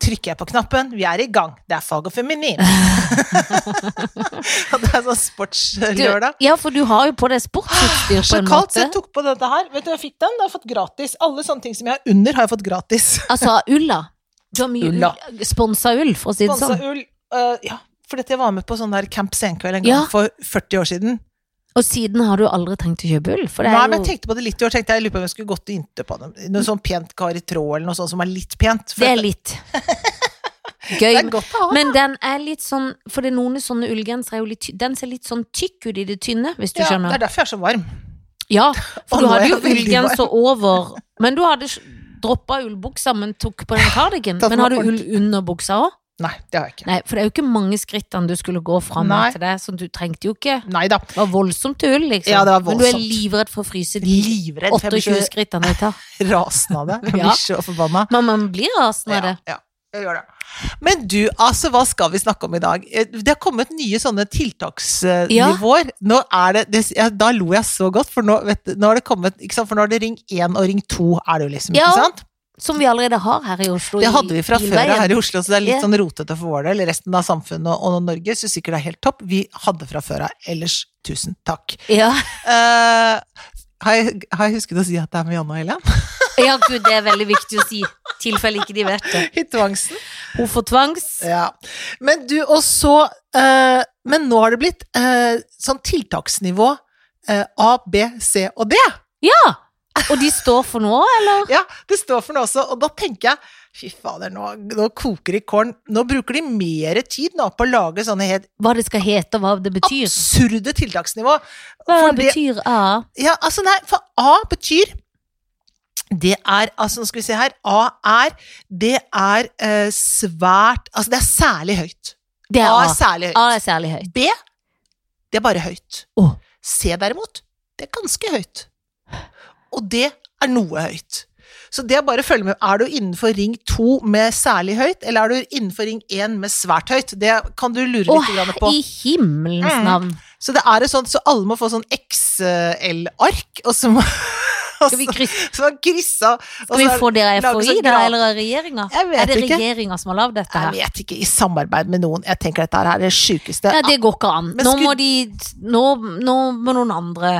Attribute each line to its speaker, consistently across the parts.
Speaker 1: trykker jeg på knappen, vi er i gang. Det er fag og feminin. og det er sånn
Speaker 2: Du,
Speaker 1: sportslørdag.
Speaker 2: ja, for du har jo på deg sportsutstyr på
Speaker 1: Så
Speaker 2: en
Speaker 1: kaldt, så
Speaker 2: måte.
Speaker 1: jeg tok på dette her. Vet du, jeg fikk den. Det har jeg fått gratis. Alle sånne ting som jeg har under, har jeg fått gratis.
Speaker 2: Altså ulla. Du har mye
Speaker 1: Ulla.
Speaker 2: ull- sponsa ull, for å si det
Speaker 1: Sponsa
Speaker 2: sånn.
Speaker 1: ull. øh, ja, fordi at jeg var med på sånn der Camp Senkveld en gang
Speaker 2: Ja.
Speaker 1: for 40 år siden.
Speaker 2: Og siden har du aldri trengt å kjøpe ull, for det
Speaker 1: Nei,
Speaker 2: er
Speaker 1: men jeg
Speaker 2: jo
Speaker 1: tenkte på det litt i år. Tenkte jeg, jeg lurer på om jeg skulle gått og inntil på dem. Noe sånn pent kar i tråd, eller noe sånt som er litt pent. For
Speaker 2: Det er
Speaker 1: at-
Speaker 2: litt
Speaker 1: det
Speaker 2: gøy.
Speaker 1: er godt å ha.
Speaker 2: Men den er litt sånn For det er noen sånne ullgensere er jo litt ty- Den ser litt sånn tykk ut i det tynne, hvis du
Speaker 1: Ja, det
Speaker 2: skjønner.
Speaker 1: er derfor jeg er så varm.
Speaker 2: Ja,
Speaker 1: Og
Speaker 2: for du
Speaker 1: nå er
Speaker 2: hadde jo
Speaker 1: jeg veldig
Speaker 2: ullgenser over Men du hadde droppa ullbuksa, men tok på den cardigan.
Speaker 1: Tatt
Speaker 2: Men
Speaker 1: meg
Speaker 2: har du ull
Speaker 1: ordentlig.
Speaker 2: under buksa òg?
Speaker 1: Nei, det har jeg ikke.
Speaker 2: Nei, for det er jo ikke mange skrittene du skulle gå fra med
Speaker 1: Nei.
Speaker 2: til det, så du trengte jo ikke
Speaker 1: Nei da.
Speaker 2: Det var voldsomt ull, liksom.
Speaker 1: Ja, det var
Speaker 2: Men du er
Speaker 1: voldsomt.
Speaker 2: livredd for å fryse de
Speaker 1: Livredd. for Jeg
Speaker 2: 28
Speaker 1: blir
Speaker 2: skrittene du tar.
Speaker 1: så rasende av det. Jeg
Speaker 2: Ja.
Speaker 1: blir så forbanna.
Speaker 2: Men man blir rasende av det.
Speaker 1: Ja, ja, jeg gjør det. Men du, altså, hva skal vi snakke om i dag? Eh, Det har kommet nye sånne
Speaker 2: Ja.
Speaker 1: tiltaksnivåer. Nå er det, det ja, Da lo jeg så godt, for nå, vet, du, nå har det kommet ikke sant? For nå er det Ring 1 og Ring 2, er det jo liksom,
Speaker 2: Ja.
Speaker 1: ikke sant?
Speaker 2: Som vi allerede har her i Oslo.
Speaker 1: Det hadde vi fra før av her i Oslo, så det er litt
Speaker 2: Ja.
Speaker 1: sånn rotete for vår del. Resten av samfunnet og, og Norge syns sikkert det er helt topp. Vi hadde fra før av. Ellers, tusen takk.
Speaker 2: Ja.
Speaker 1: Eh, har, jeg, har jeg husket å si at det er med Janne og Helen?
Speaker 2: ja, gud, det er veldig viktig å si. I tilfelle ikke de vet det.
Speaker 1: I tvangsen.
Speaker 2: Hun får tvangs.
Speaker 1: Ja. Men du, og så eh, Men nå har det blitt eh, sånn tiltaksnivå eh, A, B, C og D.
Speaker 2: Ja! Og de står for noe, eller?
Speaker 1: Ja, det står for noe også, og da tenker jeg Fy fader, nå, nå koker det i korn. Nå bruker de mer tid nå på å lage sånne helt
Speaker 2: Hva det skal hete, og hva det betyr.
Speaker 1: absurde tiltaksnivå.
Speaker 2: Hva
Speaker 1: for
Speaker 2: det betyr A?
Speaker 1: Ja, altså nei, for A betyr det er, altså nå skal vi se her, A er, det er eh, svært, altså det er særlig høyt.
Speaker 2: Det er
Speaker 1: A
Speaker 2: A.
Speaker 1: er særlig høyt.
Speaker 2: A er særlig høyt.
Speaker 1: B, det er bare høyt.
Speaker 2: Åh.
Speaker 1: C derimot, det er ganske høyt. Og det er noe høyt. Så det er bare å følge med. Er du innenfor ring 2 med særlig høyt, eller er du innenfor ring 1 med svært høyt? Det kan du lure
Speaker 2: Å,
Speaker 1: litt grann på.
Speaker 2: i himmelens
Speaker 1: Mm.
Speaker 2: navn.
Speaker 1: Så det er et sånt, så alle må få sånn XL-ark, og så må og
Speaker 2: Skal vi,
Speaker 1: så-
Speaker 2: krysse,
Speaker 1: så han kryssa og
Speaker 2: skal vi
Speaker 1: så er-
Speaker 2: få det av
Speaker 1: lage
Speaker 2: FHI,
Speaker 1: Altså, sånn
Speaker 2: da,
Speaker 1: graf.
Speaker 2: eller av regjeringa?
Speaker 1: Jeg vet
Speaker 2: Er det
Speaker 1: ikke.
Speaker 2: regjeringa som har lagd dette
Speaker 1: Jeg
Speaker 2: her?
Speaker 1: vet ikke. I samarbeid med noen. Jeg tenker dette her er det sjukeste.
Speaker 2: Nei, det går ikke an.
Speaker 1: Men
Speaker 2: Nå
Speaker 1: skulle-
Speaker 2: må de Nå, nå må noen andre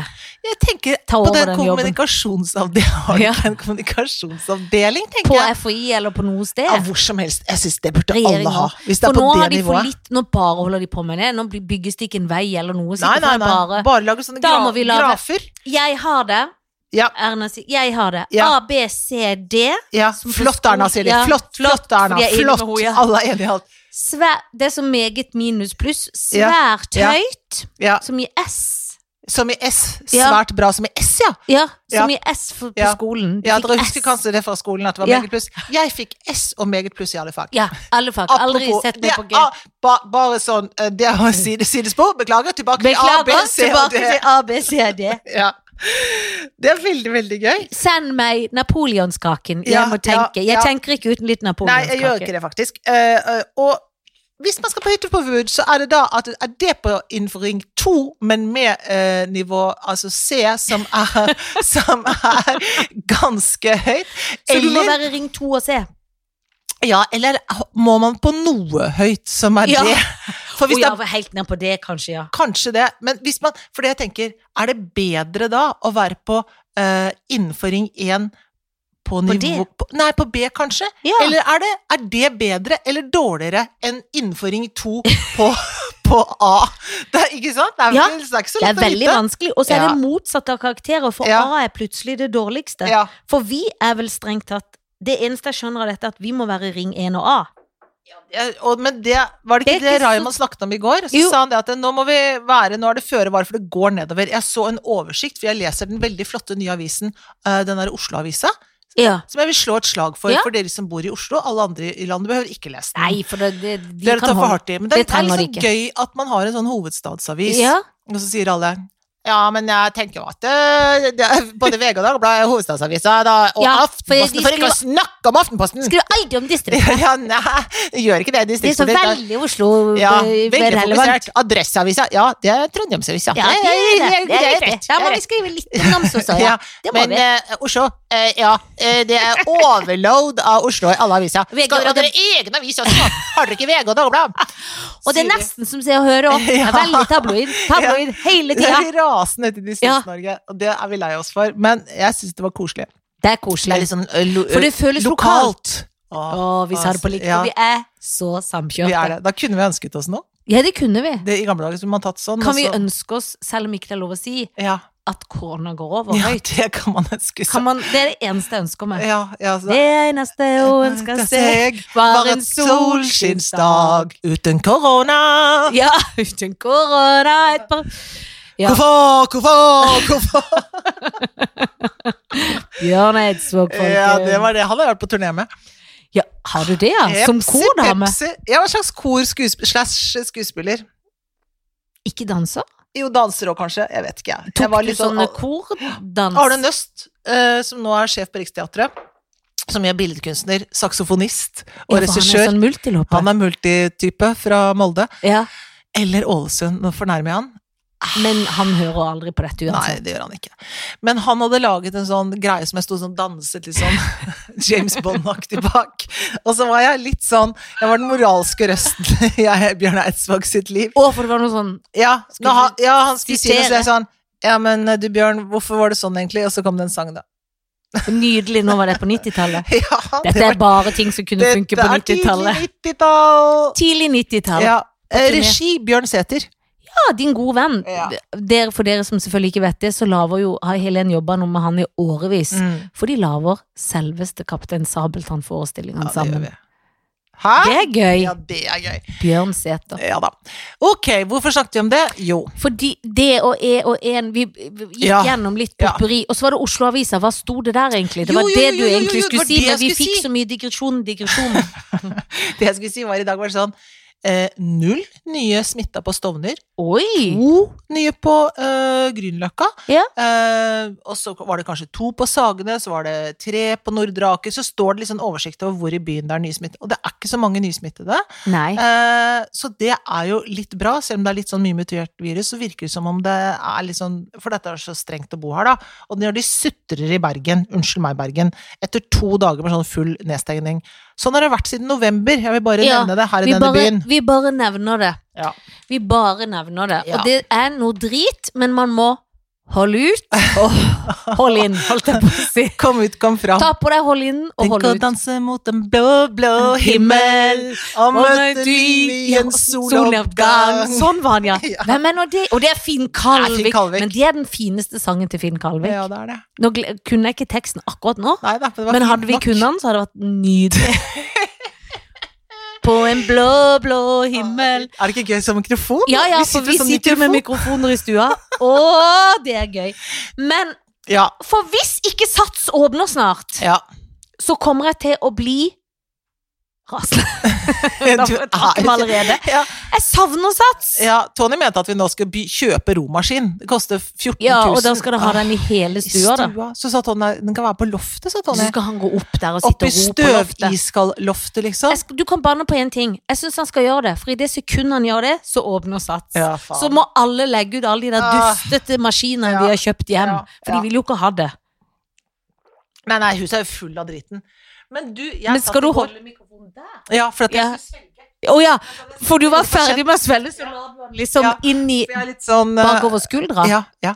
Speaker 1: Jeg tenker på
Speaker 2: Ta over
Speaker 1: den,
Speaker 2: den jobben.
Speaker 1: kommunikasjonsavdelingen.
Speaker 2: Ja.
Speaker 1: En kommunikasjonsavdeling, tenker
Speaker 2: På
Speaker 1: jeg.
Speaker 2: FHI eller på noe sted.
Speaker 1: Ja, hvor som helst. Jeg syns det burde alle
Speaker 2: Regjeringen.
Speaker 1: ha. Hvis det er
Speaker 2: For nå
Speaker 1: på
Speaker 2: har
Speaker 1: det
Speaker 2: de for
Speaker 1: nivået.
Speaker 2: litt Nå bare holder de på med det. Nå blir- bygges det ikke en vei eller noe.
Speaker 1: Nei,
Speaker 2: sikkert
Speaker 1: nei,
Speaker 2: for det er
Speaker 1: nei.
Speaker 2: Bare,
Speaker 1: Bare lage sånne
Speaker 2: Da
Speaker 1: gra
Speaker 2: må vi lage-
Speaker 1: grafer.
Speaker 2: jeg har det.
Speaker 1: Ja.
Speaker 2: Erna sier jeg har det.
Speaker 1: Ja.
Speaker 2: A, B, C, D.
Speaker 1: Ja,
Speaker 2: Som på
Speaker 1: flott,
Speaker 2: skole-
Speaker 1: Erna, sier de.
Speaker 2: Ja,
Speaker 1: Flott, flott, Erna.
Speaker 2: for de er enige
Speaker 1: Flott.
Speaker 2: med henne, ja.
Speaker 1: Alle er enige i alt.
Speaker 2: Svær, det er så meget minus pluss.
Speaker 1: Ja.
Speaker 2: Svært
Speaker 1: Ja.
Speaker 2: høyt,
Speaker 1: Ja.
Speaker 2: som i S.
Speaker 1: Som i S.
Speaker 2: Ja.
Speaker 1: Svært bra som i S, ja.
Speaker 2: Ja, som
Speaker 1: Ja.
Speaker 2: i S for, på
Speaker 1: Ja.
Speaker 2: skolen. Du
Speaker 1: Ja,
Speaker 2: fikk
Speaker 1: dere
Speaker 2: S.
Speaker 1: husker kanskje det fra skolen at det var
Speaker 2: Ja.
Speaker 1: meget pluss. Jeg fikk S og meget pluss i alle fag.
Speaker 2: Ja, alle fag. Aldri
Speaker 1: Apropos,
Speaker 2: sett meg
Speaker 1: det
Speaker 2: på G.
Speaker 1: er- ba, bare sånn eh, Det er å side, sidespor. Beklager. Tilbake til A, B,
Speaker 2: Beklager,
Speaker 1: C og
Speaker 2: tilbake
Speaker 1: D.
Speaker 2: til A, B, C, D.
Speaker 1: Ja. Det er veldig, veldig gøy.
Speaker 2: Send meg napoleonskaken. Jeg
Speaker 1: Ja,
Speaker 2: må tenke.
Speaker 1: ja,
Speaker 2: Jeg
Speaker 1: ja.
Speaker 2: tenker ikke uten litt
Speaker 1: Nei, jeg gjør ikke
Speaker 2: napoleonskake.
Speaker 1: det, faktisk. Eh, eh, og hvis man skal på hytteforbud, så er det da at er det på innenfor ring 2, men med eh, nivå altså C, som er, som er ganske høyt.
Speaker 2: Så du må
Speaker 1: Eller,
Speaker 2: være ring 2 og C.
Speaker 1: ja, eller må man på noe høyt, som er
Speaker 2: Ja.
Speaker 1: det? For hvis
Speaker 2: Å
Speaker 1: det
Speaker 2: ja,
Speaker 1: er
Speaker 2: helt ned på det, kanskje, ja.
Speaker 1: Kanskje det, men hvis man For det jeg tenker, er det bedre da å være på eh, innenfor ring 1 på
Speaker 2: På
Speaker 1: nivå
Speaker 2: D?
Speaker 1: På, nei, på B, kanskje?
Speaker 2: Ja.
Speaker 1: Eller er det, er det bedre eller dårligere enn innenfor ring 2 på, på A? Det er, ikke sant? Det er,
Speaker 2: Ja,
Speaker 1: vel- det er ikke så
Speaker 2: Det
Speaker 1: lett
Speaker 2: er veldig
Speaker 1: å vite.
Speaker 2: vanskelig. Og så er
Speaker 1: Ja.
Speaker 2: det motsatt av karakterer, for
Speaker 1: Ja.
Speaker 2: A er plutselig det dårligste.
Speaker 1: Ja,
Speaker 2: For vi er vel strengt tatt Det eneste jeg skjønner av dette, er at vi må være ring 1 og A.
Speaker 1: Ja, og, men det var det
Speaker 2: Det er
Speaker 1: ikke det,
Speaker 2: ikke så-
Speaker 1: Raymond snakket om i går? Så
Speaker 2: Jo.
Speaker 1: sa han det at nå må vi være, nå er det føre var, for det går nedover. Jeg så en oversikt, for jeg leser den veldig flotte nye avisen, eh, den der Oslo-avisa.
Speaker 2: Ja.
Speaker 1: Som jeg vil slå et slag for,
Speaker 2: Ja.
Speaker 1: for dere som bor i Oslo. Alle andre i landet behøver ikke lese den.
Speaker 2: Nei, for det, det, de
Speaker 1: dere
Speaker 2: kan
Speaker 1: tar for
Speaker 2: holde
Speaker 1: hardt i. Men det,
Speaker 2: Det
Speaker 1: er
Speaker 2: trenger de
Speaker 1: liksom gøy at man har en sånn hovedstadsavis,
Speaker 2: Ja.
Speaker 1: og så sier alle ja, men jeg tenker jo at eh, det, det er både VG og Dagbladet er hovedstadsavisa, da, og
Speaker 2: Ja, for de
Speaker 1: Aftenposten, for ikke å snakke om Aftenposten!
Speaker 2: Skriv aldri om distriktet.
Speaker 1: ja, nei, det gjør ikke det.
Speaker 2: Det er så
Speaker 1: Distriktspolitikk.
Speaker 2: veldig Oslo
Speaker 1: Ja,
Speaker 2: eh,
Speaker 1: veldig
Speaker 2: relevant.
Speaker 1: fokusert. Adresseavisa, ja, det er Trondheimsavisa.
Speaker 2: Ja, det er det. Det er
Speaker 1: det er
Speaker 2: riktig.
Speaker 1: rett,
Speaker 2: Da
Speaker 1: det
Speaker 2: må
Speaker 1: er
Speaker 2: vi
Speaker 1: rett.
Speaker 2: skrive litt om Namsos også, ja.
Speaker 1: Ja,
Speaker 2: Det må
Speaker 1: men
Speaker 2: vi.
Speaker 1: eh, Oslo, Eh, ja, eh, det er overload av Oslo i alle aviser.
Speaker 2: VG
Speaker 1: Skal dere ha
Speaker 2: og det-
Speaker 1: dere egne aviser, så har dere ikke VG og Dagbladet?
Speaker 2: Og det
Speaker 1: Sier
Speaker 2: er
Speaker 1: de.
Speaker 2: nesten som Se og Hør òg.
Speaker 1: Ja.
Speaker 2: Veldig tabloid. Tabloid hele
Speaker 1: Det
Speaker 2: tida.
Speaker 1: er rasende til Distrikts-Norge, og det er vi lei oss for. Men jeg syns det var koselig.
Speaker 2: Det er
Speaker 1: Det er
Speaker 2: koselig.
Speaker 1: litt sånn eh, lo
Speaker 2: For det føles lokalt.
Speaker 1: lokalt.
Speaker 2: Å, vi sa det på likt.
Speaker 1: Ja.
Speaker 2: Vi er så
Speaker 1: Vi er
Speaker 2: samkjørte.
Speaker 1: det. Da kunne vi ønsket oss noe.
Speaker 2: Ja, det kunne vi.
Speaker 1: Det, I gamle dager skulle man tatt sånn.
Speaker 2: Kan vi
Speaker 1: og så-
Speaker 2: ønske oss, selv om ikke det er lov å si,
Speaker 1: ja.
Speaker 2: at korona går over
Speaker 1: ja,
Speaker 2: høyt?
Speaker 1: det kan man ønske
Speaker 2: Kan
Speaker 1: seg.
Speaker 2: man, det er det eneste jeg ønsker meg.
Speaker 1: Ja, ja, så-
Speaker 2: Det eneste hun ønsker seg,
Speaker 1: var en solskinnsdag uten korona.
Speaker 2: Ja, uten korona et par Ja.
Speaker 1: Hvorfor, hvorfor, hvorfor?
Speaker 2: Bjørn Eidsvåg, folkens.
Speaker 1: Ja, det var det han har vært på turné med.
Speaker 2: Ja, har du det, ja? Som
Speaker 1: Pepsi,
Speaker 2: kordame?
Speaker 1: Pepsi. Ja, en slags kor skuesp- slash skuespiller.
Speaker 2: Ikke danser?
Speaker 1: Jo, danser òg, kanskje. Jeg vet ikke, jeg. jeg
Speaker 2: Tok
Speaker 1: var
Speaker 2: du
Speaker 1: litt sånn
Speaker 2: sånne kordans?
Speaker 1: Arne Nøst, eh, som nå er sjef på Riksteatret, som er billedkunstner, saksofonist og
Speaker 2: Ja, for Han er
Speaker 1: regissør.
Speaker 2: sånn multilopper.
Speaker 1: Han er multitype fra Molde.
Speaker 2: Ja,
Speaker 1: Eller Ålesund, nå fornærmer jeg han.
Speaker 2: men han hører aldri på dette
Speaker 1: Ah. Nei,
Speaker 2: uansett.
Speaker 1: det gjør han ikke. Men han hadde laget en sånn greie som jeg sto sånn danset litt sånn James Bond-aktig bak. Og så var jeg litt sånn Jeg var den moralske røsten i Bjørn Eidsvåg sitt liv.
Speaker 2: Å, for det var noe sånn
Speaker 1: Ja,
Speaker 2: Skulle
Speaker 1: når han, ja, han skulle si det, så
Speaker 2: sitere.
Speaker 1: jeg sa han Ja, men eh, du Bjørn, hvorfor var det sånn egentlig? Og så kom det en sang, da.
Speaker 2: nydelig, nå var det på 90-tallet.
Speaker 1: Ja,
Speaker 2: Dette er bare ting som kunne funke på 90-tallet.
Speaker 1: 90-tall.
Speaker 2: Tidlig 90-tall. Ja.
Speaker 1: Ja. eh,
Speaker 2: turné.
Speaker 1: Regi Bjørn Sæther.
Speaker 2: Ah, din gode venn.
Speaker 1: Ja.
Speaker 2: Der, for dere som selvfølgelig ikke vet det, så laver jo har Helen jobba noe med han i årevis.
Speaker 1: Mm.
Speaker 2: For de laver selveste Kaptein Sabeltann-forestillingen
Speaker 1: Ja, det gjør
Speaker 2: sammen.
Speaker 1: vi. Hæ?
Speaker 2: Det er gøy.
Speaker 1: Ja, det er gøy.
Speaker 2: Bjørn Sæther.
Speaker 1: Ja da. Ok, hvorfor snakket vi om det? Jo.
Speaker 2: Fordi det og E og en Vi vi gikk
Speaker 1: Ja.
Speaker 2: gjennom litt
Speaker 1: Ja.
Speaker 2: potpurri. Og så var det Oslo Avisa. Hva sto det der, egentlig? Det
Speaker 1: Jo,
Speaker 2: var
Speaker 1: jo,
Speaker 2: det
Speaker 1: jo,
Speaker 2: du
Speaker 1: jo, jo, jo,
Speaker 2: egentlig
Speaker 1: det
Speaker 2: skulle
Speaker 1: var
Speaker 2: si,
Speaker 1: det jeg
Speaker 2: men vi
Speaker 1: skulle
Speaker 2: fikk
Speaker 1: si.
Speaker 2: så mye digresjon, digresjon.
Speaker 1: Det jeg skulle si var i dag var sånn eh, Null nye smitta på Stovner.
Speaker 2: Oi!
Speaker 1: To nye på eh, Grünerløkka.
Speaker 2: Ja.
Speaker 1: Eh, og så var det kanskje to på Sagene, så var det tre på Nordre Aker. Så står det litt sånn oversikt over hvor i byen det er nysmittede. Og det er ikke så mange nysmittede.
Speaker 2: Nei.
Speaker 1: Eh, så det er jo litt bra, selv om det er litt sånn mye mutert virus. Så virker det som om det er litt sånn For dette er så strengt å bo her, da. Og når de sutrer i Bergen, unnskyld meg, Bergen, etter to dager med sånn full nedstengning Sånn har det vært siden november. Jeg vil bare
Speaker 2: Ja,
Speaker 1: nevne det her i
Speaker 2: Vi
Speaker 1: denne
Speaker 2: bare,
Speaker 1: byen.
Speaker 2: vi bare nevner det.
Speaker 1: Ja.
Speaker 2: Vi bare nevner det.
Speaker 1: Ja.
Speaker 2: Og det er noe drit, men man må holde ut og holde inn, holdt jeg på å si.
Speaker 1: Kom ut, kom fram.
Speaker 2: Ta på deg, hold inn og
Speaker 1: Tenk å
Speaker 2: hold ut.
Speaker 1: danse mot en blå, blå himmel og møte liv i en soloppgang.
Speaker 2: Sånn var han, ja.
Speaker 1: Ja.
Speaker 2: Hvem er nå det? Og det er Finn
Speaker 1: Det er
Speaker 2: Kalvik.
Speaker 1: Finn Kalvik.
Speaker 2: Men det er den fineste sangen til Finn Kalvik.
Speaker 1: Ja, det er det.
Speaker 2: Nå gle- kunne jeg ikke teksten akkurat nå,
Speaker 1: Nei, da, det var
Speaker 2: men
Speaker 1: fint
Speaker 2: hadde vi
Speaker 1: nok.
Speaker 2: kunnet den, så hadde det vært nydelig. På en blå, blå himmel.
Speaker 1: Er det ikke gøy som mikrofon?
Speaker 2: Ja, ja, for vi
Speaker 1: som
Speaker 2: sitter jo med
Speaker 1: sånn mikrofon.
Speaker 2: mikrofoner i stua. Å, det er gøy. Men
Speaker 1: Ja,
Speaker 2: for hvis ikke Sats åpner snart,
Speaker 1: ja.
Speaker 2: så kommer jeg til å bli rasende. Da
Speaker 1: Du er-
Speaker 2: takker vi allerede.
Speaker 1: Ja.
Speaker 2: Jeg savner Sats!
Speaker 1: ja, Tony mente at vi nå skal by kjøpe romaskin. Det koster 14 000.
Speaker 2: Ja, og da skal du ha den i
Speaker 1: Ah,
Speaker 2: hele
Speaker 1: i
Speaker 2: stua, da.
Speaker 1: stua. Så sa Tony den kan være på loftet, sa
Speaker 2: Så
Speaker 1: Tony.
Speaker 2: skal han gå opp der og
Speaker 1: Oppi
Speaker 2: sitte og ro på loftet.
Speaker 1: støviskalloftet, liksom.
Speaker 2: Jeg sk- Du kan banne på én ting. Jeg syns han skal gjøre det. For i det sekundet han gjør det, så åpner Sats.
Speaker 1: Ja, faen.
Speaker 2: så må alle legge ut alle de der
Speaker 1: Ah.
Speaker 2: dustete maskinene
Speaker 1: Ja,
Speaker 2: de har kjøpt hjem.
Speaker 1: ja,
Speaker 2: For de
Speaker 1: ja.
Speaker 2: vil jo ikke ha det.
Speaker 1: Nei, nei, huset er jo full av driten. Men du, jeg
Speaker 2: Men
Speaker 1: satt
Speaker 2: skal
Speaker 1: i
Speaker 2: du
Speaker 1: går-
Speaker 2: holde mikrofonen der?
Speaker 1: Ja, for at jeg
Speaker 2: Ja. Å ja, for du var ferdig med å svelle, så la du den liksom
Speaker 1: Ja.
Speaker 2: inn i
Speaker 1: For jeg er litt sånn eh,
Speaker 2: bakover skuldra.
Speaker 1: Ja, ja.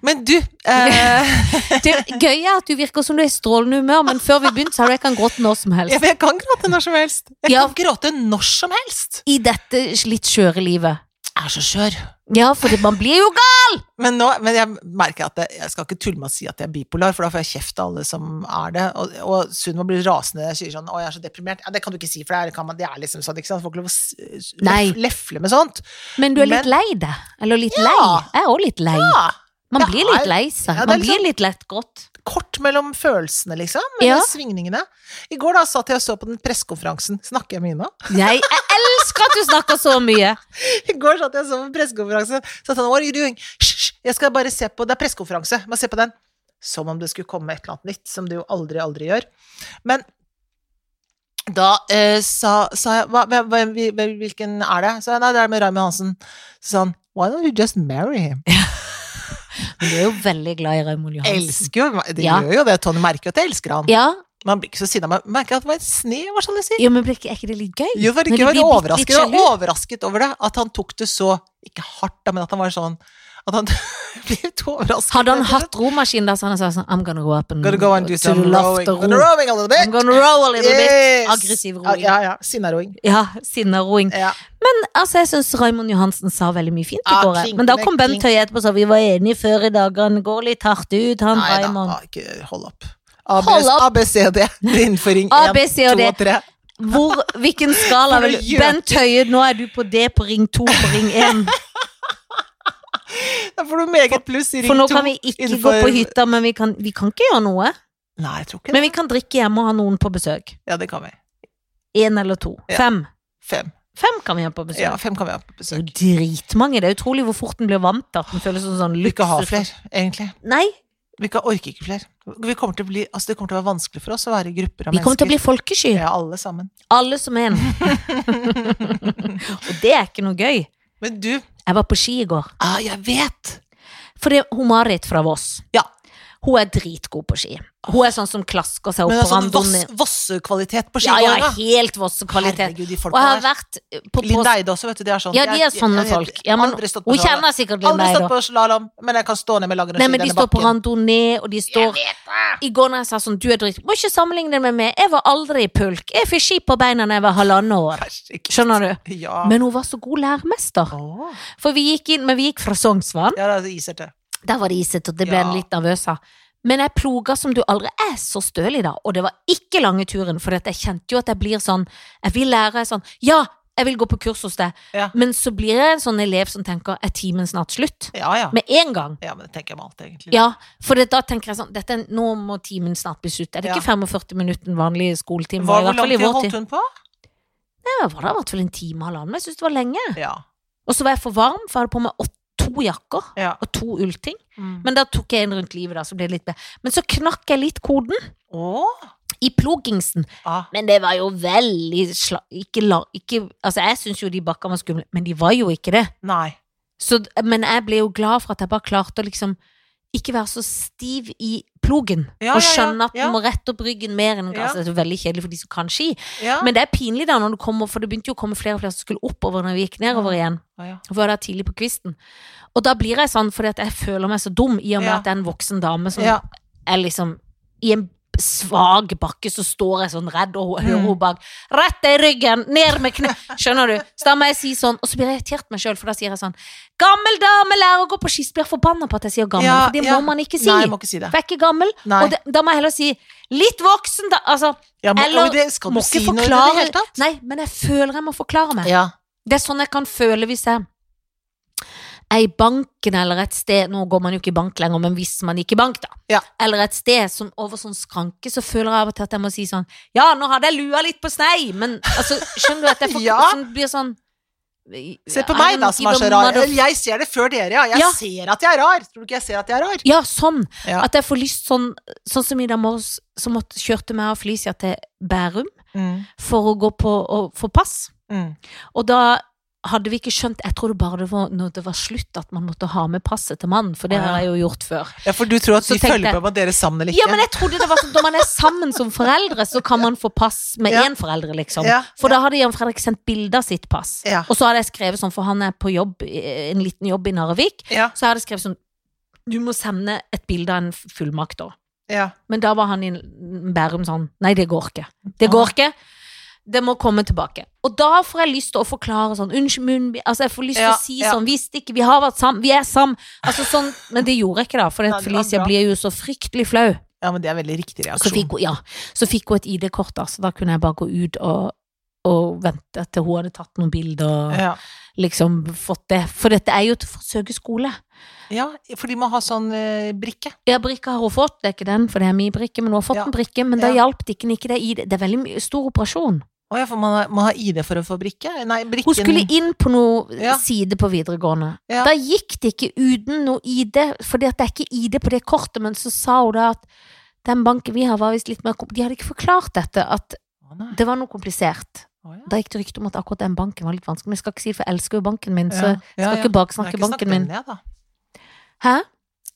Speaker 1: Men du eh,
Speaker 2: Det gøye er at du virker som du er i strålende humør, men før vi begynte, så hadde jeg kan gråte når som helst.
Speaker 1: Jeg kan gråte når som helst. Jeg
Speaker 2: Ja.
Speaker 1: kan gråte når som helst.
Speaker 2: I dette litt skjøre livet.
Speaker 1: Jeg er så skjør.
Speaker 2: Ja, for det, man blir jo gal!
Speaker 1: Men, nå, men jeg merker at jeg, jeg skal ikke tulle med å si at jeg er bipolar, for da får jeg kjeft av alle som er det. Og, og Sunniva blir rasende når jeg sier sånn 'Å, jeg er så deprimert'. Ja, det kan du ikke si, for det er, kan man, det er liksom sånn, ikke sant? Får ikke lov å s- s-
Speaker 2: Nei.
Speaker 1: lef- lefle med sånt.
Speaker 2: Men du er litt
Speaker 1: Men-
Speaker 2: lei deg. Eller litt lei. Jeg er òg litt lei.
Speaker 1: Ja.
Speaker 2: Man
Speaker 1: det
Speaker 2: blir litt
Speaker 1: er-
Speaker 2: lei seg.
Speaker 1: Ja, det er
Speaker 2: Man
Speaker 1: liksom-
Speaker 2: blir litt lett godt.
Speaker 1: Kort mellom følelsene, liksom. Mellom
Speaker 2: Ja.
Speaker 1: svingningene. I går da satt jeg og så på den pressekonferansen. Snakker jeg mye nå?
Speaker 2: Nei, jeg elsker at du snakker så mye!
Speaker 1: I går satt jeg og så på pressekonferanse. Så sa han, what are you doing? Hysj, hysj, jeg skal bare se på, det er pressekonferanse. Må se på den. Som om det skulle komme et eller annet nytt, som det jo aldri, aldri gjør. Men da eh, sa, sa jeg, hva, hva, hva- hvil- hvilken er det? Så jeg, nei, det er med Raymond Hansen. Så sa han, why don't you just marry him?
Speaker 2: Men du er jo veldig glad i Raymond
Speaker 1: Jeg
Speaker 2: Johansen.
Speaker 1: elsker jo Det
Speaker 2: Ja.
Speaker 1: gjør jo det, Tonje merker jo at jeg elsker han.
Speaker 2: Ja,
Speaker 1: Man blir ikke så sinna, man merker at det sånn var et snev, hva skal jeg si.
Speaker 2: jo, men blir ikke, er ikke det litt gøy?
Speaker 1: Jo, for
Speaker 2: Når
Speaker 1: ikke
Speaker 2: de
Speaker 1: var
Speaker 2: blir bitte litt
Speaker 1: overrasket, jeg var
Speaker 2: sjalu.
Speaker 1: overrasket over det. At han tok det så Ikke hardt, da, men at han var sånn At han ble litt overrasket.
Speaker 2: Hadde han hatt romaskin der, så hadde han sagt sånn I'm gonna go up and
Speaker 1: Gotta go and do
Speaker 2: to
Speaker 1: some
Speaker 2: the loft
Speaker 1: rowing.
Speaker 2: and
Speaker 1: Gonna
Speaker 2: row.
Speaker 1: rowing a little bit.
Speaker 2: I'm gonna row a little bit.
Speaker 1: Yes. Ah,
Speaker 2: Aggressiv roing.
Speaker 1: Ja, ja. ja. Sinnaroing.
Speaker 2: Ja, sinnaroing.
Speaker 1: Ja.
Speaker 2: Men altså, jeg syns Raymond Johansen sa veldig mye fint i
Speaker 1: Ja,
Speaker 2: går. jeg. Men da
Speaker 1: klinkende
Speaker 2: kom Bent
Speaker 1: klink.
Speaker 2: Høie etterpå og sa vi var enige før i dag, han går litt hardt ut, han
Speaker 1: Nei da,
Speaker 2: Raymond.
Speaker 1: ah, ikke hold opp.
Speaker 2: Hold opp.
Speaker 1: ABCD. Innføring
Speaker 2: A, B,
Speaker 1: 1,
Speaker 2: C
Speaker 1: 2
Speaker 2: og D.
Speaker 1: og 3.
Speaker 2: Hvor, hvilken
Speaker 1: For
Speaker 2: skala vil
Speaker 1: å
Speaker 2: du
Speaker 1: gjøre-
Speaker 2: Bent Høie, nå er du på D på ring 2 på ring 1.
Speaker 1: Da får du meget pluss i ring 2.
Speaker 2: For nå kan vi ikke gå på hytta, men vi kan, vi kan ikke gjøre noe.
Speaker 1: Nei, jeg tror ikke det.
Speaker 2: Men vi kan drikke hjemme og ha noen på besøk.
Speaker 1: Ja, det kan vi.
Speaker 2: Én eller to.
Speaker 1: Ja.
Speaker 2: Fem.
Speaker 1: Fem.
Speaker 2: Fem kan vi ha på
Speaker 1: Ja,
Speaker 2: besøk.
Speaker 1: fem kan vi ha på
Speaker 2: Det er
Speaker 1: besøk.
Speaker 2: jo dritmange. Det er utrolig hvor fort den blir vant til at den føles som sånn
Speaker 1: Vi kan ikke ha
Speaker 2: luksus.
Speaker 1: flere, egentlig.
Speaker 2: Nei,
Speaker 1: Vi kan orker ikke flere. Vi kommer til å bli, altså det kommer til å være vanskelig for oss å være i grupper av
Speaker 2: vi kommer til å bli
Speaker 1: mennesker.
Speaker 2: folkesky.
Speaker 1: Ja, alle sammen.
Speaker 2: Alle som en. og det er ikke noe gøy.
Speaker 1: Men du,
Speaker 2: Jeg var på ski i går.
Speaker 1: ah, jeg vet!
Speaker 2: For det er hun Marit fra Voss.
Speaker 1: Ja.
Speaker 2: Hun er dritgod på ski. Hun er sånn som klasker seg opp
Speaker 1: Men
Speaker 2: på
Speaker 1: altså,
Speaker 2: randoen.
Speaker 1: voss- Voss-kvalitet på
Speaker 2: Ja, ja,
Speaker 1: skigåinga.
Speaker 2: helt Voss-kvalitet.
Speaker 1: Herregud, de
Speaker 2: Og jeg
Speaker 1: folka
Speaker 2: har
Speaker 1: der.
Speaker 2: vært på, på
Speaker 1: Linn Eide også, vet du. De er sånn.
Speaker 2: Ja, de er sånne folk. Ja, men
Speaker 1: aldri stått på
Speaker 2: Hun
Speaker 1: slalåm.
Speaker 2: kjenner sikkert Linn
Speaker 1: Aldri
Speaker 2: Eide.
Speaker 1: stått på slalåm, men jeg kan stå ned med langrenn
Speaker 2: Nei,
Speaker 1: i
Speaker 2: men de
Speaker 1: denne
Speaker 2: står på
Speaker 1: bakken.
Speaker 2: randonee, og de står I går når jeg sa sånn, du er dritt Må ikke sammenligne det med meg, jeg var aldri i pulk. Jeg fikk ski på beina da jeg var halvannet år.
Speaker 1: Herregud.
Speaker 2: Skjønner du?
Speaker 1: Ja.
Speaker 2: Men hun var så god læremester.
Speaker 1: Åh.
Speaker 2: For vi gikk inn, men vi gikk fra Sognsvann.
Speaker 1: Ja, det er iserte.
Speaker 2: Der var det isete, og det ble
Speaker 1: Ja.
Speaker 2: en litt nervøs av. Men jeg ploga som du aldri er så støl i da, og det var ikke lange turen, for jeg kjente jo at jeg blir sånn Jeg vil lære jeg er sånn Ja, jeg vil gå på kurs hos deg,
Speaker 1: Ja.
Speaker 2: men så blir jeg en sånn elev som tenker Er timen snart slutt?
Speaker 1: Ja, ja.
Speaker 2: Med en gang.
Speaker 1: Ja, men det tenker jeg med alt, egentlig.
Speaker 2: Ja, for det, da tenker jeg sånn dette, er- Nå må timen snart bli slutt. Er det
Speaker 1: Ja.
Speaker 2: ikke 45 minutter den vanlige skoletime?
Speaker 1: Hva,
Speaker 2: var, i
Speaker 1: hvor
Speaker 2: hvert
Speaker 1: lang
Speaker 2: fall i
Speaker 1: tid
Speaker 2: vår
Speaker 1: holdt
Speaker 2: tid?
Speaker 1: hun på?
Speaker 2: Nei, det var da i hvert fall en time og halvannen, men jeg syns det var lenge.
Speaker 1: Ja.
Speaker 2: Og så var jeg for varm, for jeg hadde på meg åt- to jakker
Speaker 1: ja.
Speaker 2: og to ullting.
Speaker 1: Mm.
Speaker 2: Men da tok jeg en rundt livet, da, så ble det litt bedre. Men så knakk jeg litt koden
Speaker 1: Åh.
Speaker 2: i plogingsen.
Speaker 1: Ah.
Speaker 2: Men det var jo veldig sla... Ikke la... Ikke... Altså, jeg syns jo de bakkene var skumle, men de var jo ikke det.
Speaker 1: Nei.
Speaker 2: Så, men jeg ble jo glad for at jeg bare klarte å liksom ikke være så stiv i plogen.
Speaker 1: Ja, ja, ja,
Speaker 2: og skjønne at
Speaker 1: ja.
Speaker 2: du må rette opp ryggen mer enn
Speaker 1: Ja.
Speaker 2: altså, Det er jo veldig kjedelig for de som kan ski.
Speaker 1: Ja.
Speaker 2: Men det er pinlig da, når du kommer, for det begynte jo å komme flere og flere som skulle oppover når vi gikk nedover igjen.
Speaker 1: Å, ja.
Speaker 2: For det er tidlig på kvisten. Og da blir jeg sånn fordi at jeg føler meg så dum, i og med
Speaker 1: Ja.
Speaker 2: at det er en voksen dame som
Speaker 1: Ja.
Speaker 2: er liksom I en svak bakke så står jeg sånn redd, og hun- hører
Speaker 1: Mm.
Speaker 2: hun bak 'Rett deg i ryggen! Ned med kne!' Skjønner du? Så da må jeg si sånn, og så blir jeg irritert meg sjøl, for da sier jeg sånn 'Gammel dame lærer å gå på ski', så blir jeg forbanna på at jeg sier 'gammel',
Speaker 1: Ja,
Speaker 2: for det
Speaker 1: ja.
Speaker 2: må man ikke si.
Speaker 1: Nei, jeg må ikke si det.
Speaker 2: for jeg er ikke gammel,
Speaker 1: Nei.
Speaker 2: og det, da må jeg heller si 'litt voksen', da. Altså,
Speaker 1: Ja, men,
Speaker 2: eller
Speaker 1: og det skal
Speaker 2: må
Speaker 1: du
Speaker 2: ikke
Speaker 1: si noe i det
Speaker 2: forklare-
Speaker 1: hele tatt?
Speaker 2: nei, men jeg føler jeg må forklare meg.
Speaker 1: Ja.
Speaker 2: Det er sånn jeg kan føle hvis jeg er i banken eller et sted Nå går man jo ikke i bank lenger, men hvis man gikk i bank, da.
Speaker 1: Ja.
Speaker 2: Eller et sted som, over sånn skranke, så føler jeg av og til at jeg må si sånn Ja, nå hadde jeg lua litt på snei, men altså, skjønner du at jeg får,
Speaker 1: Ja.
Speaker 2: sånn, blir sånn
Speaker 1: Se på
Speaker 2: I
Speaker 1: meg, da,
Speaker 2: don't
Speaker 1: som er
Speaker 2: give
Speaker 1: så
Speaker 2: a
Speaker 1: rar.
Speaker 2: mother-
Speaker 1: Eller, Jeg ser det før dere, ja. Jeg
Speaker 2: Ja.
Speaker 1: ser at jeg er rar. Tror du ikke jeg ser at jeg er rar?
Speaker 2: Ja, sånn.
Speaker 1: Ja.
Speaker 2: At jeg får lyst sånn Sånn som i dag morges, så måtte, kjørte meg og Felicia til Bærum
Speaker 1: Mm.
Speaker 2: for å gå på og få pass. Og da hadde vi ikke skjønt Jeg tror det bare det var når det var slutt at man måtte ha med passet til mannen, for det har jeg jo gjort før.
Speaker 1: Ja, for du tror at
Speaker 2: Så
Speaker 1: de
Speaker 2: tenkte
Speaker 1: følger
Speaker 2: jeg-
Speaker 1: med på om dere er sammen eller ikke?
Speaker 2: Ja, men jeg trodde det var sånn når man er sammen som foreldre, så kan man få pass med
Speaker 1: Ja.
Speaker 2: én forelder, liksom.
Speaker 1: Ja,
Speaker 2: For da hadde Jan Fredrik sendt bilde av sitt pass.
Speaker 1: Ja.
Speaker 2: Og så hadde jeg skrevet sånn, for han er på jobb, eh, en liten jobb i Narvik,
Speaker 1: ja,
Speaker 2: så jeg hadde skrevet sånn Du må sende et bilde av en fullmakt, da.
Speaker 1: ja.
Speaker 2: Men da var han i Bærum sånn Nei, det går ikke. Det går ikke. Det må komme tilbake. Og da får jeg lyst til å forklare sånn Unnskyld, munnbind Altså, jeg får lyst til
Speaker 1: Ja,
Speaker 2: å si
Speaker 1: ja.
Speaker 2: sånn Hvis det ikke Vi har vært sammen. Vi er sammen. Altså sånn Men det gjorde jeg ikke, da. For
Speaker 1: Nei, det var
Speaker 2: Felicia
Speaker 1: bra.
Speaker 2: blir jo så fryktelig flau.
Speaker 1: Ja, men det er veldig riktig
Speaker 2: Så
Speaker 1: reaksjon.
Speaker 2: fikk hun, ja, så fikk hun et ID-kort, altså. da. Så da kunne jeg bare gå ut og, og vente til hun hadde tatt noen bilder og
Speaker 1: Ja.
Speaker 2: liksom fått det. For dette er jo til forsøkeskole.
Speaker 1: ja, for de må ha sånn eh, brikke.
Speaker 2: Ja, brikka har hun fått, det er ikke den, for det er min brikke, men hun har fått
Speaker 1: Ja.
Speaker 2: en brikke, men da
Speaker 1: Ja.
Speaker 2: hjalp det ikke, ikke det ID. Det er veldig mye- stor operasjon.
Speaker 1: Å ja, for man har- må ha ID for å få brikke? Nei, brikken
Speaker 2: Hun skulle inn på noe
Speaker 1: Ja.
Speaker 2: side på videregående.
Speaker 1: Ja.
Speaker 2: Da gikk det ikke uten noe ID, for det er ikke ID på det kortet, men så sa hun da at den banken vi har var visst litt mer kom- De hadde ikke forklart dette, at
Speaker 1: Å, nei.
Speaker 2: det var noe komplisert.
Speaker 1: Å, ja.
Speaker 2: Da gikk det rykte om at akkurat den banken var litt vanskelig, men jeg skal ikke si det, for jeg elsker jo banken min, så
Speaker 1: Ja,
Speaker 2: jeg skal
Speaker 1: ja, ja.
Speaker 2: ikke
Speaker 1: Nei, ikke
Speaker 2: baksnakke
Speaker 1: snakk
Speaker 2: banken min.
Speaker 1: den ned, da.
Speaker 2: Hæ?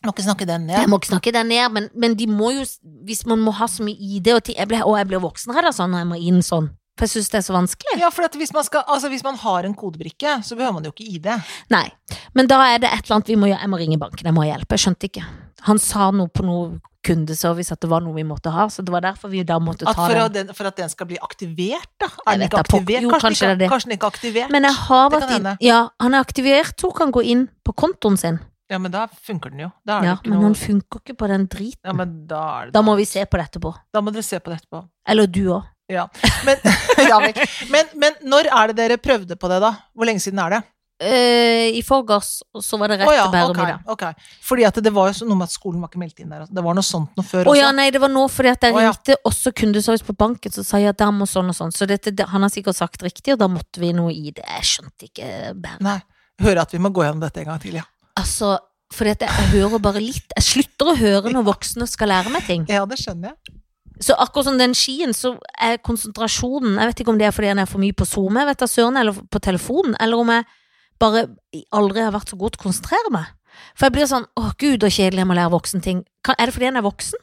Speaker 1: Må ikke snakke den
Speaker 2: Jeg
Speaker 1: ned.
Speaker 2: må ikke snakke den ned, men, men de må jo, hvis man må ha så mye ID og ting jeg ble, Å, jeg blir voksenredd av sånn når jeg må inn sånn. For jeg syns det er så vanskelig.
Speaker 1: Ja, for at hvis, man skal, altså hvis man har en kodebrikke, så behøver man jo ikke ID.
Speaker 2: Nei. Men da er det et eller annet vi må gjøre. Jeg må ringe banken, jeg må ha hjelp. Jeg skjønte ikke. Han sa noe på noe kundeservice at det var noe vi måtte ha, så det var derfor vi da måtte
Speaker 1: At
Speaker 2: ta
Speaker 1: for,
Speaker 2: den.
Speaker 1: at den, for at den skal bli aktivert, da. Er
Speaker 2: Jeg
Speaker 1: den ikke
Speaker 2: vet da, pokker.
Speaker 1: aktivert?
Speaker 2: Jo,
Speaker 1: kanskje, den ikke-
Speaker 2: kanskje det er det.
Speaker 1: kanskje den ikke er aktivert?
Speaker 2: Men jeg har
Speaker 1: Det kan
Speaker 2: vært inn
Speaker 1: hende.
Speaker 2: Ja, han er aktivert. Tor kan gå inn på kontoen sin.
Speaker 1: Ja, men da funker den jo. Da er
Speaker 2: Ja,
Speaker 1: det ikke
Speaker 2: men
Speaker 1: noe
Speaker 2: han funker ikke på den driten.
Speaker 1: Ja, men da er det
Speaker 2: Da må vi se på det etterpå.
Speaker 1: Da må dere se på det etterpå.
Speaker 2: Eller du òg.
Speaker 1: Ja. Men, ja, vel. men, men når er det dere prøvde på det, da? Hvor lenge siden er det?
Speaker 2: Eh, I forgårs og så var det rett
Speaker 1: Å ja,
Speaker 2: til Bærum
Speaker 1: ok,
Speaker 2: i dag.
Speaker 1: ok. Fordi at det var jo så- noe med at skolen var ikke meldt inn der. altså. Det var noe sånt noe før
Speaker 2: Å
Speaker 1: også.
Speaker 2: ja, nei, det var nå fordi at jeg
Speaker 1: Å ja.
Speaker 2: ringte også kundeservice på banken, så sa jeg at der må sånn og sånn. Så dette, det, han har sikkert sagt riktig, og da måtte vi noe i det. Jeg skjønte ikke Bærum.
Speaker 1: Nei. Hører at vi må gå gjennom dette en gang til, ja.
Speaker 2: Altså, fordi at jeg, jeg hører bare litt. Jeg slutter å høre når voksne skal lære meg ting.
Speaker 1: Ja, det skjønner jeg.
Speaker 2: Så akkurat som den skien, så er konsentrasjonen Jeg vet ikke om det er fordi han er for mye på Zoom, jeg vet da søren, eller på telefonen, eller om jeg bare aldri har vært så god til å konsentrere meg. For jeg blir sånn åh gud, så kjedelig jeg må lære voksenting. Kan- Er det fordi han er voksen?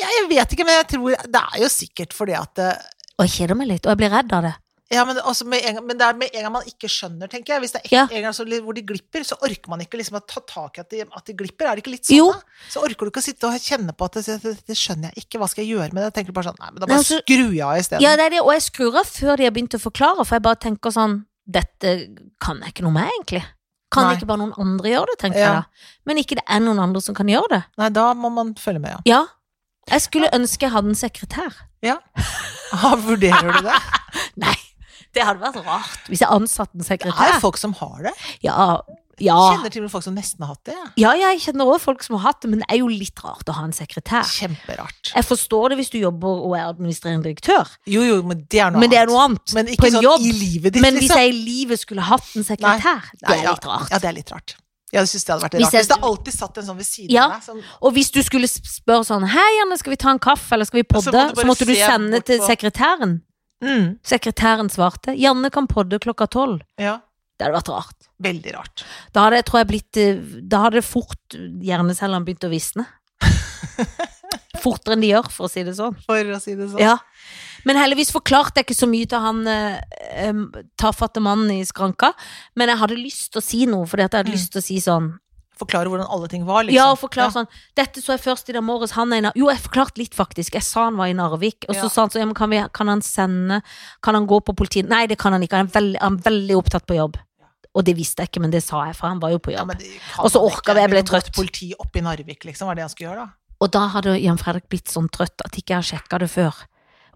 Speaker 1: Ja, jeg vet ikke, men jeg tror Det er jo sikkert fordi at eh,
Speaker 2: Og jeg kjeder meg litt, og jeg blir redd av det.
Speaker 1: ja, men, altså med en, gang- men det er med en gang man ikke skjønner, tenker jeg. Hvis det er en,
Speaker 2: Ja.
Speaker 1: en gang så, litt- hvor de glipper, så orker man ikke liksom å ta tak i at de, at de glipper. Er det ikke litt sånn,
Speaker 2: Jo.
Speaker 1: da? Så orker du ikke å sitte og kjenne på at det, det, det skjønner jeg ikke, hva skal jeg gjøre med det? Jeg tenker bare sånn, nei, men da
Speaker 2: Nei,
Speaker 1: bare
Speaker 2: altså-
Speaker 1: skrur jeg av isteden.
Speaker 2: Ja, det er det, og jeg skrur av før de har begynt å forklare, for jeg bare tenker sånn Dette kan jeg ikke noe med, egentlig. Kan
Speaker 1: Nei.
Speaker 2: ikke bare noen andre gjøre det, tenker
Speaker 1: Ja.
Speaker 2: jeg da. Men ikke det er noen andre som kan gjøre det.
Speaker 1: Nei, da må man følge med, ja.
Speaker 2: Ja. Jeg skulle ønske jeg hadde en sekretær.
Speaker 1: Ah, vurderer du det?
Speaker 2: Nei, det hadde vært rart hvis jeg ansatte en
Speaker 1: Det er
Speaker 2: sekretær.
Speaker 1: folk som har det.
Speaker 2: Ja, ja.
Speaker 1: Kjenner til og med folk som nesten har hatt det. Ja.
Speaker 2: ja, jeg kjenner også folk som har hatt det, men det er jo litt rart å ha en sekretær.
Speaker 1: Kjemperart.
Speaker 2: Jeg forstår det hvis du jobber og er administrerende direktør,
Speaker 1: Jo, jo, men det er noe
Speaker 2: men det er
Speaker 1: annet.
Speaker 2: noe annet.
Speaker 1: Men
Speaker 2: på
Speaker 1: ikke
Speaker 2: en
Speaker 1: sånn
Speaker 2: jobb.
Speaker 1: i livet ditt,
Speaker 2: men hvis
Speaker 1: liksom.
Speaker 2: jeg i livet skulle hatt en sekretær, det
Speaker 1: Nei,
Speaker 2: er
Speaker 1: ja.
Speaker 2: litt rart.
Speaker 1: Ja, det er litt rart. Jeg synes det hadde vært
Speaker 2: Hvis
Speaker 1: rart.
Speaker 2: jeg-
Speaker 1: Hvis det alltid satt en sånn ved siden
Speaker 2: Ja.
Speaker 1: av deg. Som,
Speaker 2: Og hvis du skulle sp- spørre sånn Hei, Janne, skal vi ta en kaffe, eller skal vi
Speaker 1: Og så
Speaker 2: podde?
Speaker 1: må
Speaker 2: Så
Speaker 1: du
Speaker 2: måtte,
Speaker 1: bare
Speaker 2: du
Speaker 1: se
Speaker 2: sende
Speaker 1: bort
Speaker 2: til
Speaker 1: på-
Speaker 2: sekretæren.
Speaker 1: mm,
Speaker 2: Sekretæren svarte Janne kan podde klokka tolv.
Speaker 1: ja.
Speaker 2: Det hadde vært rart.
Speaker 1: Veldig rart.
Speaker 2: Da hadde jeg, tror jeg blitt eh, Da hadde fort hjernecellene begynt å visne. Fortere enn de gjør, for å si det sånn.
Speaker 1: For å si det sånn.
Speaker 2: Ja. Men heldigvis forklarte jeg ikke så mye til han eh, em, tafatte mannen i skranka, men jeg hadde lyst til å si noe, fordi at jeg hadde
Speaker 1: Mm.
Speaker 2: lyst til å si sånn
Speaker 1: Forklare hvordan alle ting var, liksom.
Speaker 2: Ja, og forklare sånn Dette så jeg først i dag morges, han er i Narvik Jo, jeg forklarte litt, faktisk. Jeg sa han var i Narvik, og så
Speaker 1: Ja.
Speaker 2: sa han sånn ja, men kan, vi, kan han sende Kan han gå på politiet? Nei, det kan han ikke, han er veldig, han er veldig opptatt på jobb. Og det visste jeg ikke, men det sa jeg, for han var jo på
Speaker 1: Ja,
Speaker 2: jobb.
Speaker 1: men det kan
Speaker 2: Og så
Speaker 1: man ikke.
Speaker 2: orker vi, jeg ble
Speaker 1: kan gå
Speaker 2: trøtt.
Speaker 1: til Politi oppe i Narvik, liksom. Var det han skulle gjøre, da?
Speaker 2: Og da hadde Jan Fredrik blitt sånn trøtt at ikke jeg har sjekka det før.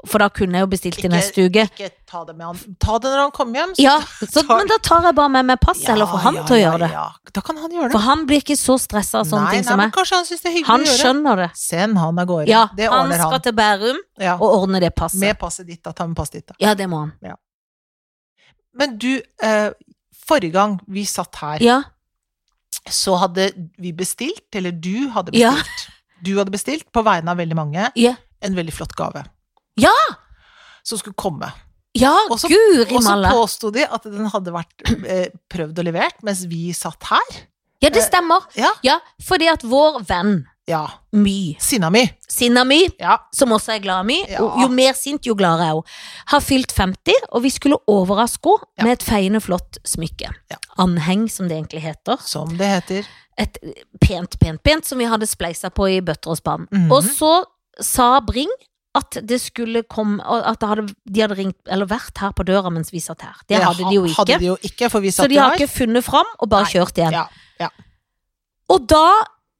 Speaker 2: For da kunne jeg jo bestilt til neste uke.
Speaker 1: Ikke ta det med han. Ta det når han kommer hjem. så-
Speaker 2: Ja, så,
Speaker 1: tar-
Speaker 2: men da tar jeg bare med meg passet, eller får han til å
Speaker 1: ja,
Speaker 2: gjøre det.
Speaker 1: Ja. Da kan han gjøre det.
Speaker 2: For han blir ikke så stressa av sånne
Speaker 1: nei,
Speaker 2: ting
Speaker 1: nei,
Speaker 2: som
Speaker 1: men
Speaker 2: meg.
Speaker 1: kanskje han syns det er hyggelig
Speaker 2: Han
Speaker 1: å gjøre.
Speaker 2: skjønner det.
Speaker 1: Send han av gårde.
Speaker 2: Ja,
Speaker 1: det
Speaker 2: han
Speaker 1: ordner
Speaker 2: skal
Speaker 1: han.
Speaker 2: til Bærum
Speaker 1: Ja.
Speaker 2: og ordne det passet.
Speaker 1: Med passet ditt, da. Ta med passet ditt, da.
Speaker 2: Ja, det må han.
Speaker 1: Men du, eh, forrige gang vi satt her,
Speaker 2: Ja,
Speaker 1: så hadde vi bestilt, eller du hadde
Speaker 2: Ja.
Speaker 1: bestilt, du hadde bestilt på vegne av veldig mange,
Speaker 2: Ja.
Speaker 1: en veldig flott gave.
Speaker 2: Ja!
Speaker 1: Som skulle komme.
Speaker 2: ja
Speaker 1: Og så-
Speaker 2: guri
Speaker 1: Og så
Speaker 2: malla!
Speaker 1: påsto de at den hadde vært eh, prøvd og levert mens vi satt her.
Speaker 2: Ja,
Speaker 1: eh,
Speaker 2: det stemmer.
Speaker 1: Ja.
Speaker 2: Ja, fordi at vår venn
Speaker 1: Ja.
Speaker 2: My,
Speaker 1: Sinna mi.
Speaker 2: sinna mi,
Speaker 1: Ja.
Speaker 2: som også er glad i mi,
Speaker 1: Ja.
Speaker 2: og jo mer sint, jo gladere er hun, har fylt 50, og vi skulle overraske henne
Speaker 1: Ja.
Speaker 2: med et feiende flott smykke.
Speaker 1: Ja.
Speaker 2: Anheng, som det egentlig heter.
Speaker 1: Som det heter.
Speaker 2: Et pent, pent, pent, som vi hadde spleisa på i bøtter og spann.
Speaker 1: Mhm.
Speaker 2: Og så sa Bring at det skulle komme og At det hadde, de hadde ringt, eller vært her på døra mens vi satt her. Det hadde de jo ikke.
Speaker 1: Hadde de jo ikke, for vi
Speaker 2: så
Speaker 1: satt
Speaker 2: de
Speaker 1: jo
Speaker 2: har
Speaker 1: her.
Speaker 2: ikke funnet fram, og bare
Speaker 1: Nei.
Speaker 2: kjørt igjen.
Speaker 1: Ja.
Speaker 2: Og da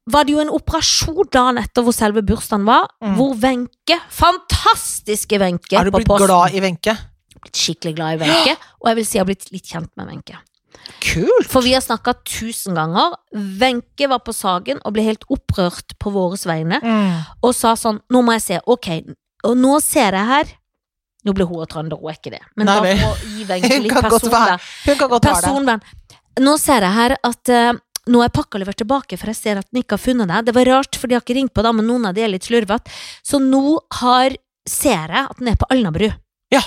Speaker 2: var det jo en operasjon dagen etter hvor selve bursdagen var,
Speaker 1: Mm.
Speaker 2: hvor Wenche, fantastiske Wenche
Speaker 1: Er du blitt glad i Wenche?
Speaker 2: Blitt skikkelig glad i Wenche, og jeg vil si jeg har blitt litt kjent med Wenche.
Speaker 1: Kult!
Speaker 2: For vi har snakka tusen ganger. Wenche var på Sagen og ble helt opprørt på våres vegne og sa sånn Nå må jeg se. Ok, og nå ser jeg her Nå ble hun og trønder, hun er ikke det. Men
Speaker 1: Nei,
Speaker 2: da
Speaker 1: vel.
Speaker 2: må gi Wenche litt
Speaker 1: Hun kan godt være-
Speaker 2: personvern.
Speaker 1: Hun kan godt være det.
Speaker 2: Personvern. Nå ser jeg her at eh, nå er pakka levert tilbake, for jeg ser at den ikke har funnet deg. Det var rart, for de har ikke ringt på deg, men noen av de er litt slurvete. Så nå har, ser jeg at den er på Alnabru.
Speaker 1: Ja.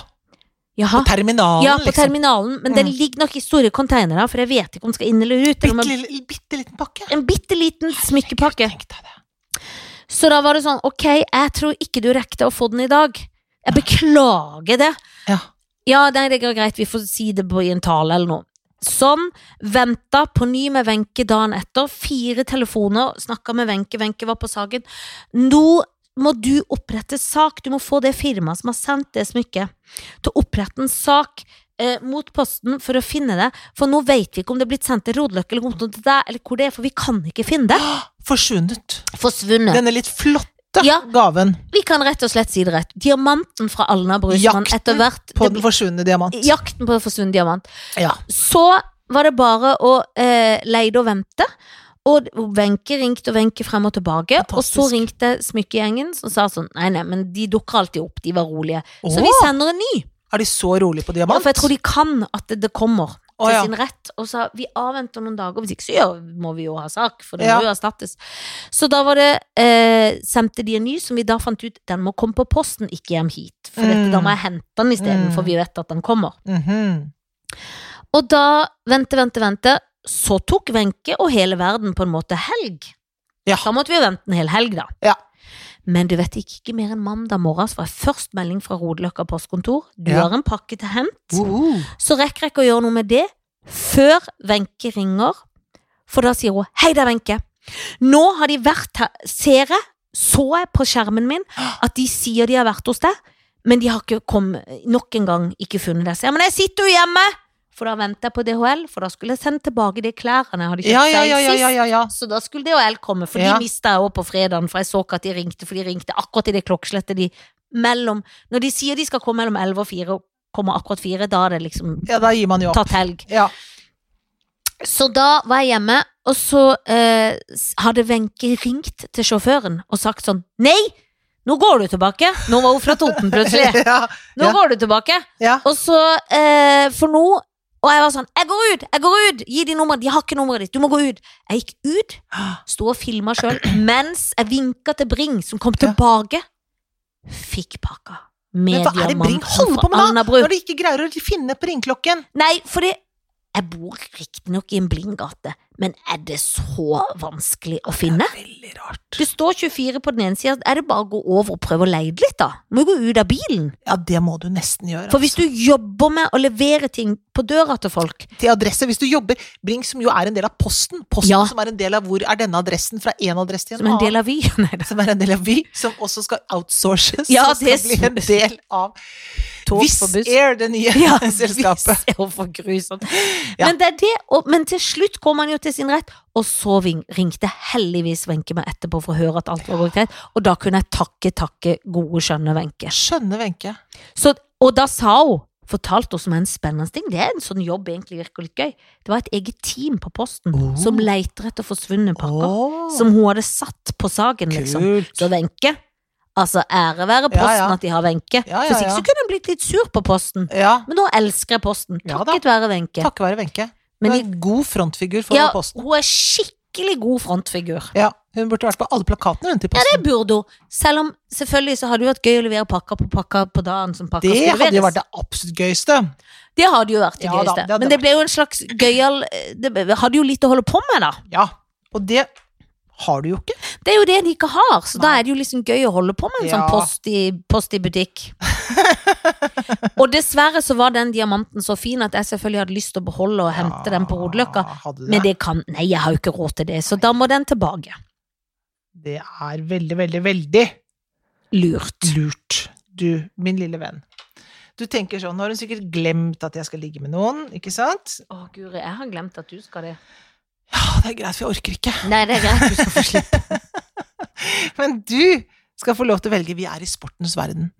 Speaker 2: Jaha.
Speaker 1: På terminalen,
Speaker 2: Ja, på
Speaker 1: liksom.
Speaker 2: terminalen, men den
Speaker 1: Mm.
Speaker 2: ligger nok i store containere, for jeg vet ikke om den skal inn eller ut. eller om
Speaker 1: Bitte,
Speaker 2: jeg-
Speaker 1: lille- bitte liten pakke.
Speaker 2: En bitte liten smykkepakke.
Speaker 1: Tenk deg det.
Speaker 2: Så da var det sånn, ok, jeg tror ikke du rekte å få den i dag. Jeg beklager det.
Speaker 1: Ja.
Speaker 2: Ja, nei, det går greit, vi får si det på- i en tale eller noe. Sånn, venta på ny med Wenche dagen etter. Fire telefoner, snakka med Wenche, Wenche var på saken. Nå må du opprette sak. Du må få det firmaet som har sendt det smykket, til å opprette en sak eh, mot Posten for å finne det. For nå vet vi ikke om det er blitt sendt til Rodeløkka eller kom til deg, eller hvor det er, for vi kan ikke finne det.
Speaker 1: Forsvunnet.
Speaker 2: Forsvunnet.
Speaker 1: Denne litt flotte
Speaker 2: Ja.
Speaker 1: gaven
Speaker 2: Vi kan rett og slett si det rett. Diamanten fra Alna Brusmann
Speaker 1: Jakten
Speaker 2: etter hvert
Speaker 1: på
Speaker 2: det
Speaker 1: den
Speaker 2: blir-
Speaker 1: forsvunne diamant.
Speaker 2: Jakten på forsvunnet diamant.
Speaker 1: Ja.
Speaker 2: Så var det bare å eh, leide og vente. Og Wenche ringte og Wenche frem og tilbake. Og så
Speaker 1: Fantastisk.
Speaker 2: ringte smykkegjengen som sa sånn Nei, nei, men de dukker alltid opp. De var rolige. Så
Speaker 1: Åh,
Speaker 2: vi sender en ny.
Speaker 1: Er de så rolige på
Speaker 2: Ja,
Speaker 1: diamant?
Speaker 2: for jeg tror de kan at det, det kommer til
Speaker 1: Å, ja.
Speaker 2: sin rett. Og så vi avventer noen dager, hvis ikke så gjør- må vi jo ha sak, for det
Speaker 1: Ja.
Speaker 2: må jo erstattes. Så da var det eh, sendte de en ny, som vi da fant ut den må komme på posten, ikke hjem hit. For dette,
Speaker 1: Mm.
Speaker 2: da må jeg hente den isteden,
Speaker 1: Mm.
Speaker 2: for vi vet at den kommer.
Speaker 1: Mhm.
Speaker 2: Og da vente, vente, vente. Så tok Wenche og hele verden på en måte helg.
Speaker 1: Ja.
Speaker 2: Da måtte vi jo vente en hel helg, da.
Speaker 1: Ja.
Speaker 2: Men du vet det gikk ikke mer enn mandag morgen, så var jeg først melding fra Rodeløkka postkontor. Du
Speaker 1: Ja.
Speaker 2: har en pakke til hent.
Speaker 1: Uhu.
Speaker 2: Så rekker jeg ikke å gjøre noe med det før Wenche ringer. For da sier hun 'Hei, det er Wenche'. Nå har de vært her. Ser jeg, så jeg på skjermen min, at de sier de har vært hos deg, men de har ikke kommet, nok en gang ikke funnet deg. Så jeg, men jeg sitter jo hjemme! For da venter jeg på DHL, for da skulle jeg sende tilbake de klærne jeg hadde kjøpt
Speaker 1: Ja, ja, ja,
Speaker 2: seg
Speaker 1: ja, ja, ja, ja.
Speaker 2: Så da skulle DHL komme, for
Speaker 1: Ja.
Speaker 2: de mista jeg òg på fredagen, for jeg så ikke at de ringte, for de ringte akkurat i det klokkeslettet de mellom Når de sier de skal komme mellom 11 og 4, og kommer akkurat 4, da er det liksom
Speaker 1: Ja, da gir man jo opp.
Speaker 2: tatt helg.
Speaker 1: Ja.
Speaker 2: Så da var jeg hjemme, og så eh, s- hadde Wenche ringt til sjåføren og sagt sånn Nei, nå går du tilbake! Nå var hun fra Toten plutselig.
Speaker 1: ja.
Speaker 2: Nå
Speaker 1: Ja.
Speaker 2: går du tilbake!
Speaker 1: ja.
Speaker 2: Og så, eh, for nå Og jeg var sånn Jeg går ut! Jeg går ut! Gi de nummeret. De har ikke nummeret ditt. Du må gå ut. Jeg gikk ut, sto og filma sjøl, mens jeg vinka til Bring, som kom
Speaker 1: Ja.
Speaker 2: tilbake. Fikk pakka.
Speaker 1: Men
Speaker 2: Med
Speaker 1: hva er det Bring
Speaker 2: diamanten
Speaker 1: holder på
Speaker 2: fra
Speaker 1: med da?
Speaker 2: Alnabru.
Speaker 1: Når de ikke greier å finne på ringeklokken?
Speaker 2: Nei, fordi jeg bor riktignok i en blindgate, men er det så vanskelig å finne?
Speaker 1: Veldig rart.
Speaker 2: Det står 24 på den ene sida, er det bare å gå over og prøve å leie det litt, da? Må jo gå ut av bilen.
Speaker 1: Ja, det må du nesten gjøre.
Speaker 2: For hvis du jobber med å levere ting på døra til folk
Speaker 1: altså. Til adresse, hvis du jobber Bring, som jo er en del av Posten, Posten
Speaker 2: Ja.
Speaker 1: som er en del av hvor er denne adressen fra én adresse til en
Speaker 2: som en
Speaker 1: annen,
Speaker 2: del av Vy Nei da.
Speaker 1: som er en del av Vy, som også skal outsources,
Speaker 2: Ja,
Speaker 1: som skal
Speaker 2: det
Speaker 1: bli
Speaker 2: er
Speaker 1: en del av
Speaker 2: Tog
Speaker 1: Wizz
Speaker 2: på buss.
Speaker 1: Air, det nye
Speaker 2: Ja,
Speaker 1: selskapet.
Speaker 2: visst, det er jo for grusomt.
Speaker 1: Ja.
Speaker 2: Men, det er det, og, men til slutt kom han jo til sin rett, og så ving- ringte heldigvis Wenche meg etterpå for å høre at alt var gått greit, og da kunne jeg takke, takke gode, skjønne Wenche.
Speaker 1: Skjønner Wenche.
Speaker 2: Så, og da sa hun Fortalte oss om en spennende ting. Det er en sånn jobb egentlig virker litt gøy. Det var et eget team på posten
Speaker 1: Oh.
Speaker 2: som leiter etter forsvunne pakker.
Speaker 1: Åh,
Speaker 2: Som hun hadde satt på saken, liksom.
Speaker 1: Kult.
Speaker 2: Så Wenche Altså, ære være posten
Speaker 1: Ja, ja.
Speaker 2: at de har Wenche.
Speaker 1: Ja, ja,
Speaker 2: Hvis ikke
Speaker 1: ja.
Speaker 2: så kunne hun blitt litt sur på posten.
Speaker 1: Ja,
Speaker 2: Men nå elsker jeg posten.
Speaker 1: Ja
Speaker 2: Takket være Wenche.
Speaker 1: takket være Wenche. Hun
Speaker 2: Men
Speaker 1: er
Speaker 2: i-
Speaker 1: en god frontfigur for
Speaker 2: ja,
Speaker 1: Posten.
Speaker 2: hun er skikkelig god frontfigur.
Speaker 1: Ja, hun burde vært på alle plakatene rundt i Posten.
Speaker 2: Det burde hun. Selv om selvfølgelig så hadde det vært gøy å levere pakker på pakker på dagen som pakker
Speaker 1: Det
Speaker 2: skulle
Speaker 1: hadde jo
Speaker 2: leveres.
Speaker 1: vært det absolutt gøyeste.
Speaker 2: Det hadde jo vært det
Speaker 1: Ja da,
Speaker 2: gøyeste.
Speaker 1: det hadde
Speaker 2: Men det ble jo en slags gøyal Det ble- hadde jo litt å holde på med, da.
Speaker 1: Ja, og det har du jo ikke.
Speaker 2: Det er jo det de ikke har, så da
Speaker 1: Nei.
Speaker 2: er det jo liksom gøy å holde på med en
Speaker 1: Ja.
Speaker 2: sånn post i, post i butikk. og dessverre så var den diamanten så fin at jeg selvfølgelig hadde lyst til å beholde og hente den på Rodeløkka.
Speaker 1: Ja, hadde du
Speaker 2: Men
Speaker 1: det.
Speaker 2: det kan Nei, jeg har jo ikke råd til det, så da må den tilbake.
Speaker 1: det er veldig, veldig, veldig
Speaker 2: Lurt.
Speaker 1: lurt, du, min lille venn. Du tenker sånn, nå har hun sikkert glemt at jeg skal ligge med noen, ikke sant?
Speaker 2: Å, Guri, jeg har glemt at du skal det.
Speaker 1: Ja, det er greit, for jeg orker ikke.
Speaker 2: Nei, det er greit, du skal få slippe.
Speaker 1: Men du skal få lov til å velge. Vi er i sportens verden.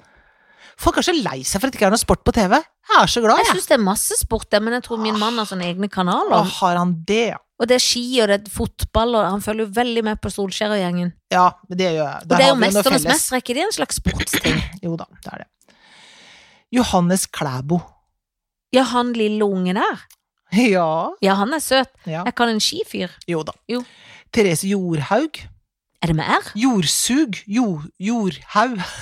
Speaker 1: Folk er så lei seg for at det ikke er noe sport på TV. Jeg er så glad,
Speaker 2: Jeg
Speaker 1: jeg.
Speaker 2: syns det er masse sport der, men jeg tror min mann har sånne egne
Speaker 1: Å,
Speaker 2: kanaler.
Speaker 1: har han det, ja.
Speaker 2: Og det er ski, og det er fotball, og han følger jo veldig med på Solskjær-gjengen.
Speaker 1: Ja, men det gjør jeg.
Speaker 2: Og
Speaker 1: Der
Speaker 2: det er
Speaker 1: har
Speaker 2: jo
Speaker 1: vi noe
Speaker 2: Mesternes
Speaker 1: felles.
Speaker 2: mester, er ikke det en slags sportsting?
Speaker 1: Jo da, det er det. Johannes Klæbo.
Speaker 2: Ja, han lille ungen der.
Speaker 1: Ja.
Speaker 2: Ja, han er søt.
Speaker 1: ja.
Speaker 2: Jeg kan en skifyr.
Speaker 1: Jo da.
Speaker 2: Jo.
Speaker 1: Therese Jorhaug.
Speaker 2: Er det med R?
Speaker 1: Jordsug. Jo, jordhaug.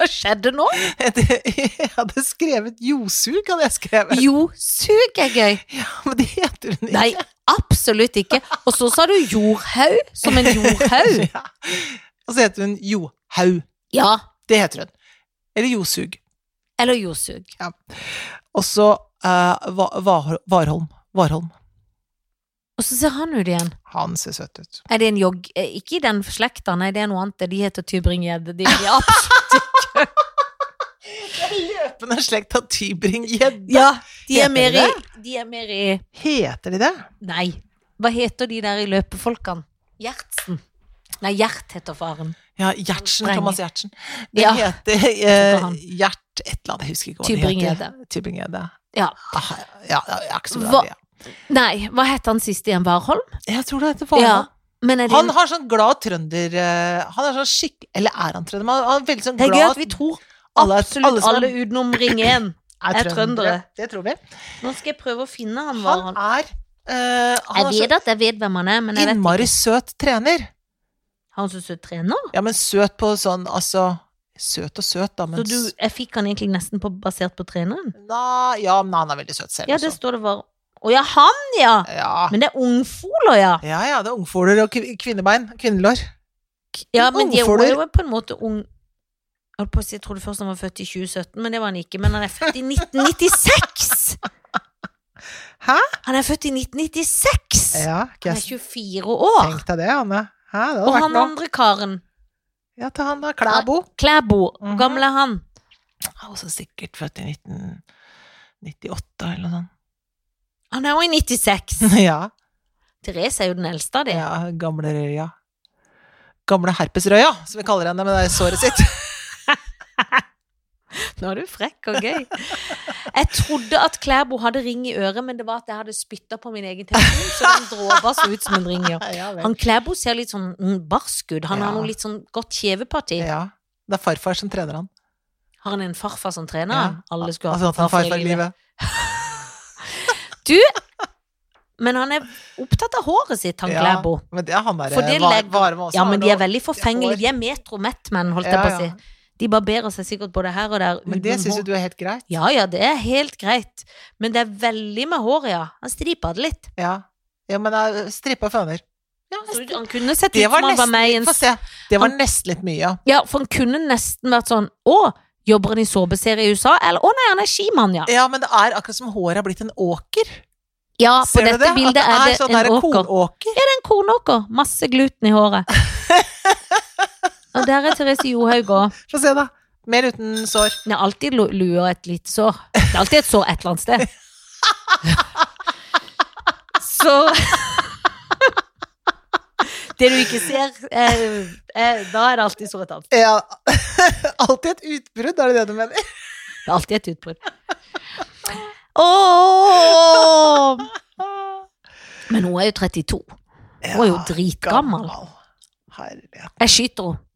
Speaker 2: Hva skjedde nå?
Speaker 1: Jeg hadde skrevet josug, hadde jeg skrevet.
Speaker 2: Jo, sug er gøy.
Speaker 1: Ja, men det heter hun ikke.
Speaker 2: Nei, absolutt ikke. Og så sa du jordhaug, som en jordhaug.
Speaker 1: Ja. Og så heter hun Johaug.
Speaker 2: Ja,
Speaker 1: Det heter hun. Eller josug.
Speaker 2: eller jordsug.
Speaker 1: Og så eh, Va- Va- Varholm. Varholm.
Speaker 2: Og så ser han ut igjen.
Speaker 1: Han ser søt ut.
Speaker 2: Er det en jogg... eh, Ikke i den slekta, nei, det er noe annet. De heter Tybring-Gjedde. De, de er absolutt
Speaker 1: Løpende slekt av Tybring-Gjedde.
Speaker 2: Ja, de
Speaker 1: Heter
Speaker 2: er mer i
Speaker 1: de
Speaker 2: De er mer i
Speaker 1: Heter de det?
Speaker 2: Nei. Hva heter de der i løpefolkene? Gjertsen. Nei, Gjert heter faren.
Speaker 1: Ja, Gjertsen.
Speaker 2: Spreng.
Speaker 1: Thomas Gjertsen. Det
Speaker 2: Ja.
Speaker 1: heter
Speaker 2: Heter
Speaker 1: eh,
Speaker 2: han.
Speaker 1: Gjert et eller annet, jeg husker ikke hva det heter. Tybring-Gjedde.
Speaker 2: Ja.
Speaker 1: Ah, Ja, jeg er ikke så
Speaker 2: Hva-
Speaker 1: glad i det.
Speaker 2: Nei, hva het han sist igjen? Warholm?
Speaker 1: Jeg tror det heter Varholm.
Speaker 2: Ja. Men er det
Speaker 1: Han har sånn glad trønder eh, Han er sånn skikk... Eller er han trønder? Men han- han er veldig sånn
Speaker 2: Det
Speaker 1: glad
Speaker 2: er gøy at vi tror
Speaker 1: Alle-
Speaker 2: absolutt alle,
Speaker 1: alle som er-
Speaker 2: utenom Ring 1. er trøndere.
Speaker 1: Det tror vi.
Speaker 2: Nå skal jeg prøve å finne han.
Speaker 1: Han
Speaker 2: Warholm.
Speaker 1: er eh, Han
Speaker 2: Jeg
Speaker 1: er
Speaker 2: vet at jeg vet hvem han er, men
Speaker 1: så
Speaker 2: jeg vet
Speaker 1: innmari søt trener.
Speaker 2: han som er trener.
Speaker 1: Ja, men søt på sånn altså Søt og søt, da, men
Speaker 2: Så du,
Speaker 1: s-
Speaker 2: jeg fikk han egentlig nesten på, basert på treneren.
Speaker 1: Nei, Ja, men han er veldig søt selv
Speaker 2: Ja, det
Speaker 1: også.
Speaker 2: står det var Å ja, han, ja!
Speaker 1: Ja.
Speaker 2: Men det er ungfoler, ja.
Speaker 1: ja, ja, det er ungfoler og kvi- kvinnebein. Kvinnelår.
Speaker 2: Ja, men de er
Speaker 1: Ungfoler.
Speaker 2: jo er på en måte ung Jeg holdt på å si, jeg trodde først han var født i 2017, men det var han ikke. Men han er født i 1996!
Speaker 1: Hæ?
Speaker 2: Han er født i 1996!
Speaker 1: Ja,
Speaker 2: Han er
Speaker 1: yes.
Speaker 2: 24 år.
Speaker 1: tenk deg det, Anne. Hæ, det
Speaker 2: Og
Speaker 1: hadde vært
Speaker 2: han
Speaker 1: noe.
Speaker 2: andre karen,
Speaker 1: Ja, ta han da. Klæbo.
Speaker 2: Klæbo, hvor
Speaker 1: Mhm.
Speaker 2: gammel er han?
Speaker 1: Han er Også sikkert født i 1998 eller noe sånt.
Speaker 2: Han er jo i 96.
Speaker 1: Ja.
Speaker 2: Therese er jo den eldste av dem.
Speaker 1: Ja, gamle røya. Gamle herpesrøya, som vi kaller henne med det såret sitt.
Speaker 2: Nå er du frekk og gøy. Jeg trodde at Klæbo hadde ring i øret, men det var at jeg hadde spytta på min egen telefon, så den dråpa så ut som en ring. Ja. Han Klæbo ser litt sånn mm, barsk ut. Han
Speaker 1: Ja.
Speaker 2: har noe litt sånn godt kjeveparti.
Speaker 1: ja. Det er farfar som trener han.
Speaker 2: Har han en farfar som trener
Speaker 1: Ja.
Speaker 2: han? Alle skulle
Speaker 1: Altså
Speaker 2: ha
Speaker 1: at han
Speaker 2: farfar i
Speaker 1: farfar-livet.
Speaker 2: livet. Men han er opptatt av håret sitt, han
Speaker 1: Ja.
Speaker 2: Klæbo.
Speaker 1: Men det er han eh,
Speaker 2: For det
Speaker 1: derre
Speaker 2: legger- Ja, men de er veldig forfengelige. De er metromettmenn, holdt jeg
Speaker 1: Ja,
Speaker 2: på å
Speaker 1: ja.
Speaker 2: si. De barberer seg sikkert både her og der.
Speaker 1: Men det
Speaker 2: uten
Speaker 1: syns
Speaker 2: hår.
Speaker 1: jo du er helt greit.
Speaker 2: Ja, ja, det er helt greit. Men det er veldig med håret, ja. Han stripa det litt.
Speaker 1: Ja. ja men det er strippa føner. Ja,
Speaker 2: Så han kunne sett ut
Speaker 1: det var
Speaker 2: som han var
Speaker 1: nesten
Speaker 2: med i en
Speaker 1: Få se. Det var nesten litt mye, ja.
Speaker 2: Ja, for han kunne nesten vært sånn Å, jobber han i såpeserie i USA? Eller å nei, han er skimann, ja.
Speaker 1: Ja, men det er akkurat som håret har blitt en åker.
Speaker 2: Ja, på
Speaker 1: Ser du
Speaker 2: dette
Speaker 1: det? At
Speaker 2: bildet
Speaker 1: det
Speaker 2: er
Speaker 1: er
Speaker 2: det
Speaker 1: sånn
Speaker 2: en
Speaker 1: derre
Speaker 2: åker.
Speaker 1: kornåker.
Speaker 2: Det er en kornåker. Masse gluten i håret. Og der er Therese Johaug òg.
Speaker 1: Få se, da. Mer uten sår.
Speaker 2: Det er alltid lu- lue og et lite sår. Det er alltid et sår et eller annet sted. Så Det du ikke ser, eh, eh, da er det alltid sår et annet sted.
Speaker 1: Ja. Alltid et utbrudd, er det det du mener?
Speaker 2: Det er alltid et utbrudd. Åh! Men hun er jo 32. Hun er jo
Speaker 1: Ja,
Speaker 2: dritgammel.
Speaker 1: Herlighet.
Speaker 2: Jeg skyter henne.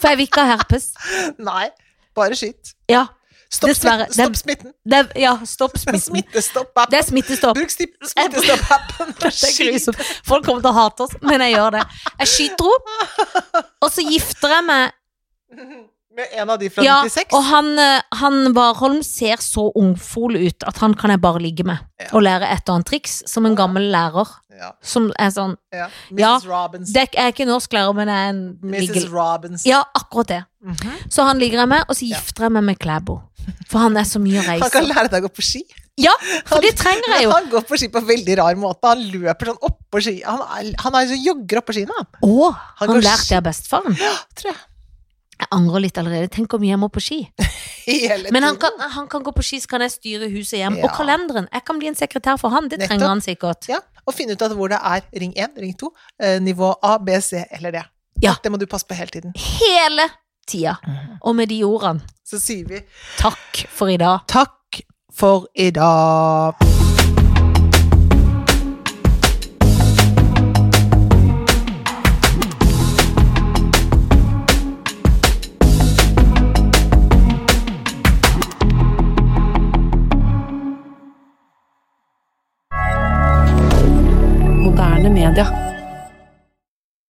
Speaker 2: For jeg vil ikke ha herpes.
Speaker 1: Nei, bare skyt.
Speaker 2: Ja,
Speaker 1: Stopp,
Speaker 2: Dessverre,
Speaker 1: smitten. stopp smitten.
Speaker 2: det er, ja stopp smitten.
Speaker 1: Smittestopp-app.
Speaker 2: Det er smittestopp.
Speaker 1: Bruk sti- smittestopp-appen.
Speaker 2: Det er grusomt. Folk kommer til å hate oss, men jeg gjør det. Jeg skyter henne, og så gifter jeg meg.
Speaker 1: Med en av de fra
Speaker 2: Ja,
Speaker 1: 96.
Speaker 2: og han, eh, han Warholm ser så ungfol ut at han kan jeg bare ligge med
Speaker 1: Ja.
Speaker 2: og lære et og annet triks, som en gammel lærer.
Speaker 1: Ja,
Speaker 2: Som er sånn
Speaker 1: ja. Mrs.
Speaker 2: Ja,
Speaker 1: Robinson.
Speaker 2: det er, Jeg er ikke norsklærer, men jeg er en
Speaker 1: Mrs.
Speaker 2: liggel.
Speaker 1: Robinson.
Speaker 2: Ja, akkurat det.
Speaker 1: Mhm.
Speaker 2: Så han ligger jeg med, og så
Speaker 1: Ja.
Speaker 2: gifter jeg meg med Klæbo. For han er så mye å
Speaker 1: Han kan
Speaker 2: reise.
Speaker 1: lære deg å gå på ski.
Speaker 2: Ja, for det trenger jeg jo.
Speaker 1: Han går på ski på en veldig rar måte. Han løper sånn oppå ski. Han, er, han er så jogger oppå skiene, han.
Speaker 2: Å,
Speaker 1: Han
Speaker 2: han
Speaker 1: går
Speaker 2: lærte jeg av bestefaren.
Speaker 1: Tror jeg.
Speaker 2: Jeg angrer litt allerede. Tenk hvor mye jeg må på ski.
Speaker 1: Hele
Speaker 2: Men han
Speaker 1: tiden.
Speaker 2: kan, han kan gå på ski, så kan jeg styre huset hjem.
Speaker 1: Ja.
Speaker 2: Og kalenderen. Jeg kan bli en sekretær for han. Det
Speaker 1: Nettopp.
Speaker 2: trenger han sikkert.
Speaker 1: Ja, og finne ut av hvor det er ring 1, ring 2, eh, nivå A, B, C eller D.
Speaker 2: Ja.
Speaker 1: Det må du passe på hele tiden.
Speaker 2: Hele tida.
Speaker 1: Mhm.
Speaker 2: Og med de ordene,
Speaker 1: Så sier vi
Speaker 2: takk for i dag.
Speaker 1: takk for i dag.